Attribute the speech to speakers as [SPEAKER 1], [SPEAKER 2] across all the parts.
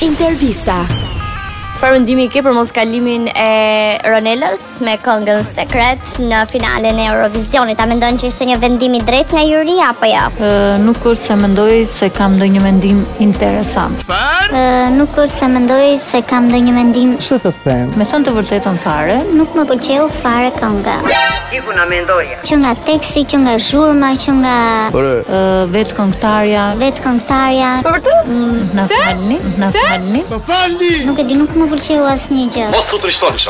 [SPEAKER 1] Intervista.
[SPEAKER 2] Çfarë mendimi ke për mos kalimin e Ronelës me këngën Sekret në finalen e Eurovisionit? A mendon që ishte një vendim i drejtë nga juria apo jo?
[SPEAKER 3] Ë, Nuk është se mendoj se kam ndonjë mendim interesant.
[SPEAKER 2] nuk kurse mendoj se kam ndonjë mendim.
[SPEAKER 3] Me thënë të vërtetën fare,
[SPEAKER 2] Nuk më pëlqeu fare kënga.
[SPEAKER 4] Diku na mendoja.
[SPEAKER 2] Që nga teksti, që nga zhurma, që nga
[SPEAKER 3] ë, vetë këngëtarja
[SPEAKER 2] vetë këngëtarja,
[SPEAKER 3] mm, na falni, na falni.
[SPEAKER 2] nuk e di, nuk më pëlqeu asnjë gjë.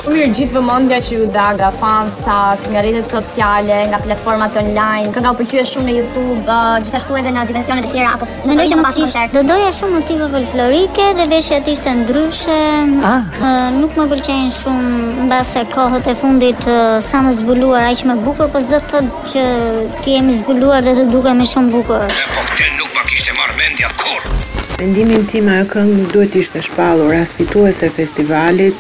[SPEAKER 5] Mirë gjithë vëmendja që ju da nga fansat, nga rrjetet sociale, nga platformat online, kënga u pëlqyer shumë në YouTube, ë, gjithashtu edhe në dimensione të tjera apo
[SPEAKER 2] Mendoj që mos ishte. Do doja shumë motive folklorike dhe veshjet ishte ndryshe.
[SPEAKER 3] Ah.
[SPEAKER 2] Ë, nuk më pëlqejnë shumë mbase kohët e fundit ë, sa më zbuluar aq më bukur, po s'do të thotë që ti jemi zbuluar dhe të dukemi shumë bukur.
[SPEAKER 6] Po këtë nuk pa kishte marrë mendja kur.
[SPEAKER 7] Mendimin tim ajo këngë duhet ishte shpallur as fituese e festivalit.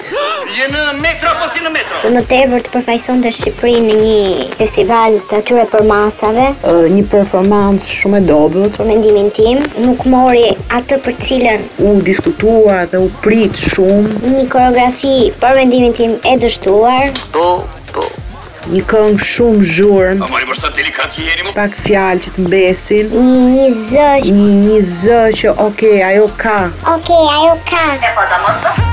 [SPEAKER 6] Je në metro apo si në metro?
[SPEAKER 2] Më tepër të përfaqësonte Shqipërinë në një festival të atyre për masave,
[SPEAKER 7] Ë, një performancë shumë e dobët.
[SPEAKER 2] për mendimin tim, nuk mori atë për cilën
[SPEAKER 7] U diskutua dhe u prit shumë.
[SPEAKER 2] një koreografi për mendimin tim e dështuar.
[SPEAKER 6] Po, po.
[SPEAKER 7] Një këngë shumë zhurmë,
[SPEAKER 6] A mori për sa delikat që jeni mu?
[SPEAKER 7] pak fjalë që të mbesin.
[SPEAKER 2] Një, një zë që...
[SPEAKER 7] Një një zë që okay, ajo ka.
[SPEAKER 2] Okej, ajo ka.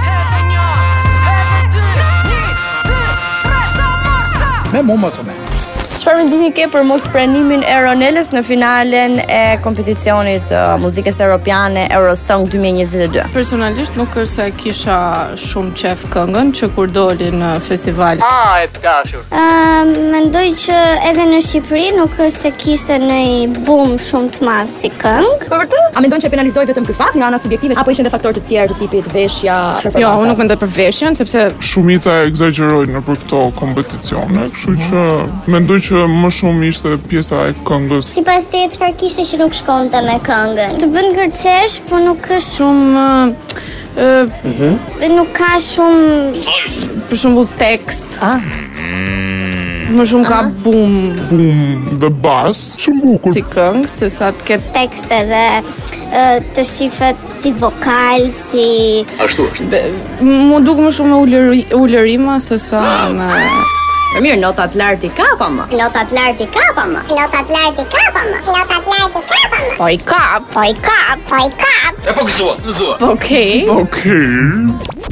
[SPEAKER 5] Çfarë mendimi ke për mos pranimin e Ronelës në finalen e kompeticionit uh, muzikës europiane Eurosong 2022?
[SPEAKER 8] Personalisht nuk është se kisha shumë qef këngën që kur doli në festival.
[SPEAKER 2] Ëm, mendoj që edhe në Shqipëri nuk është se kishte ndonjë boom shumë të madh si këngë.
[SPEAKER 5] Po Për vërtet? A mendon që e penalizoi vetëm ky fakt nga ana subjektive apo ishin edhe faktorë të tjerë të tipit veshja,
[SPEAKER 8] Jo, unë nuk mendoj për veshjen, sepse
[SPEAKER 9] shumica e egzagjerojnë në për këto kompeticione, kështu që mendoj që më shumë ishte pjesa e këngës.
[SPEAKER 2] Sipas teje çfarë kishte që nuk shkonte me këngën. Të bën gërcesh, por nuk është
[SPEAKER 8] shumë ë, ë,
[SPEAKER 2] dhe nuk ka shumë
[SPEAKER 8] për shembull tekst,
[SPEAKER 3] Ah,
[SPEAKER 8] më shumë ka bum
[SPEAKER 9] Bum dhe bas, shumë bukur.
[SPEAKER 8] si këngë se sa të ketë
[SPEAKER 2] tekste dhe e, të shifet si vokal, si
[SPEAKER 8] Mu duk më shumë me ulëri- ulërima se sa me
[SPEAKER 5] Mirë, notat lart i ka pa më.
[SPEAKER 2] notat lart i ka pa më. Notat lart i ka pa më. Notat lart i ka pa më.
[SPEAKER 8] po i kap.
[SPEAKER 2] Po i ka, po i ka.
[SPEAKER 6] E po gëzua, gëzua.
[SPEAKER 8] Po, Okej.
[SPEAKER 9] Okej,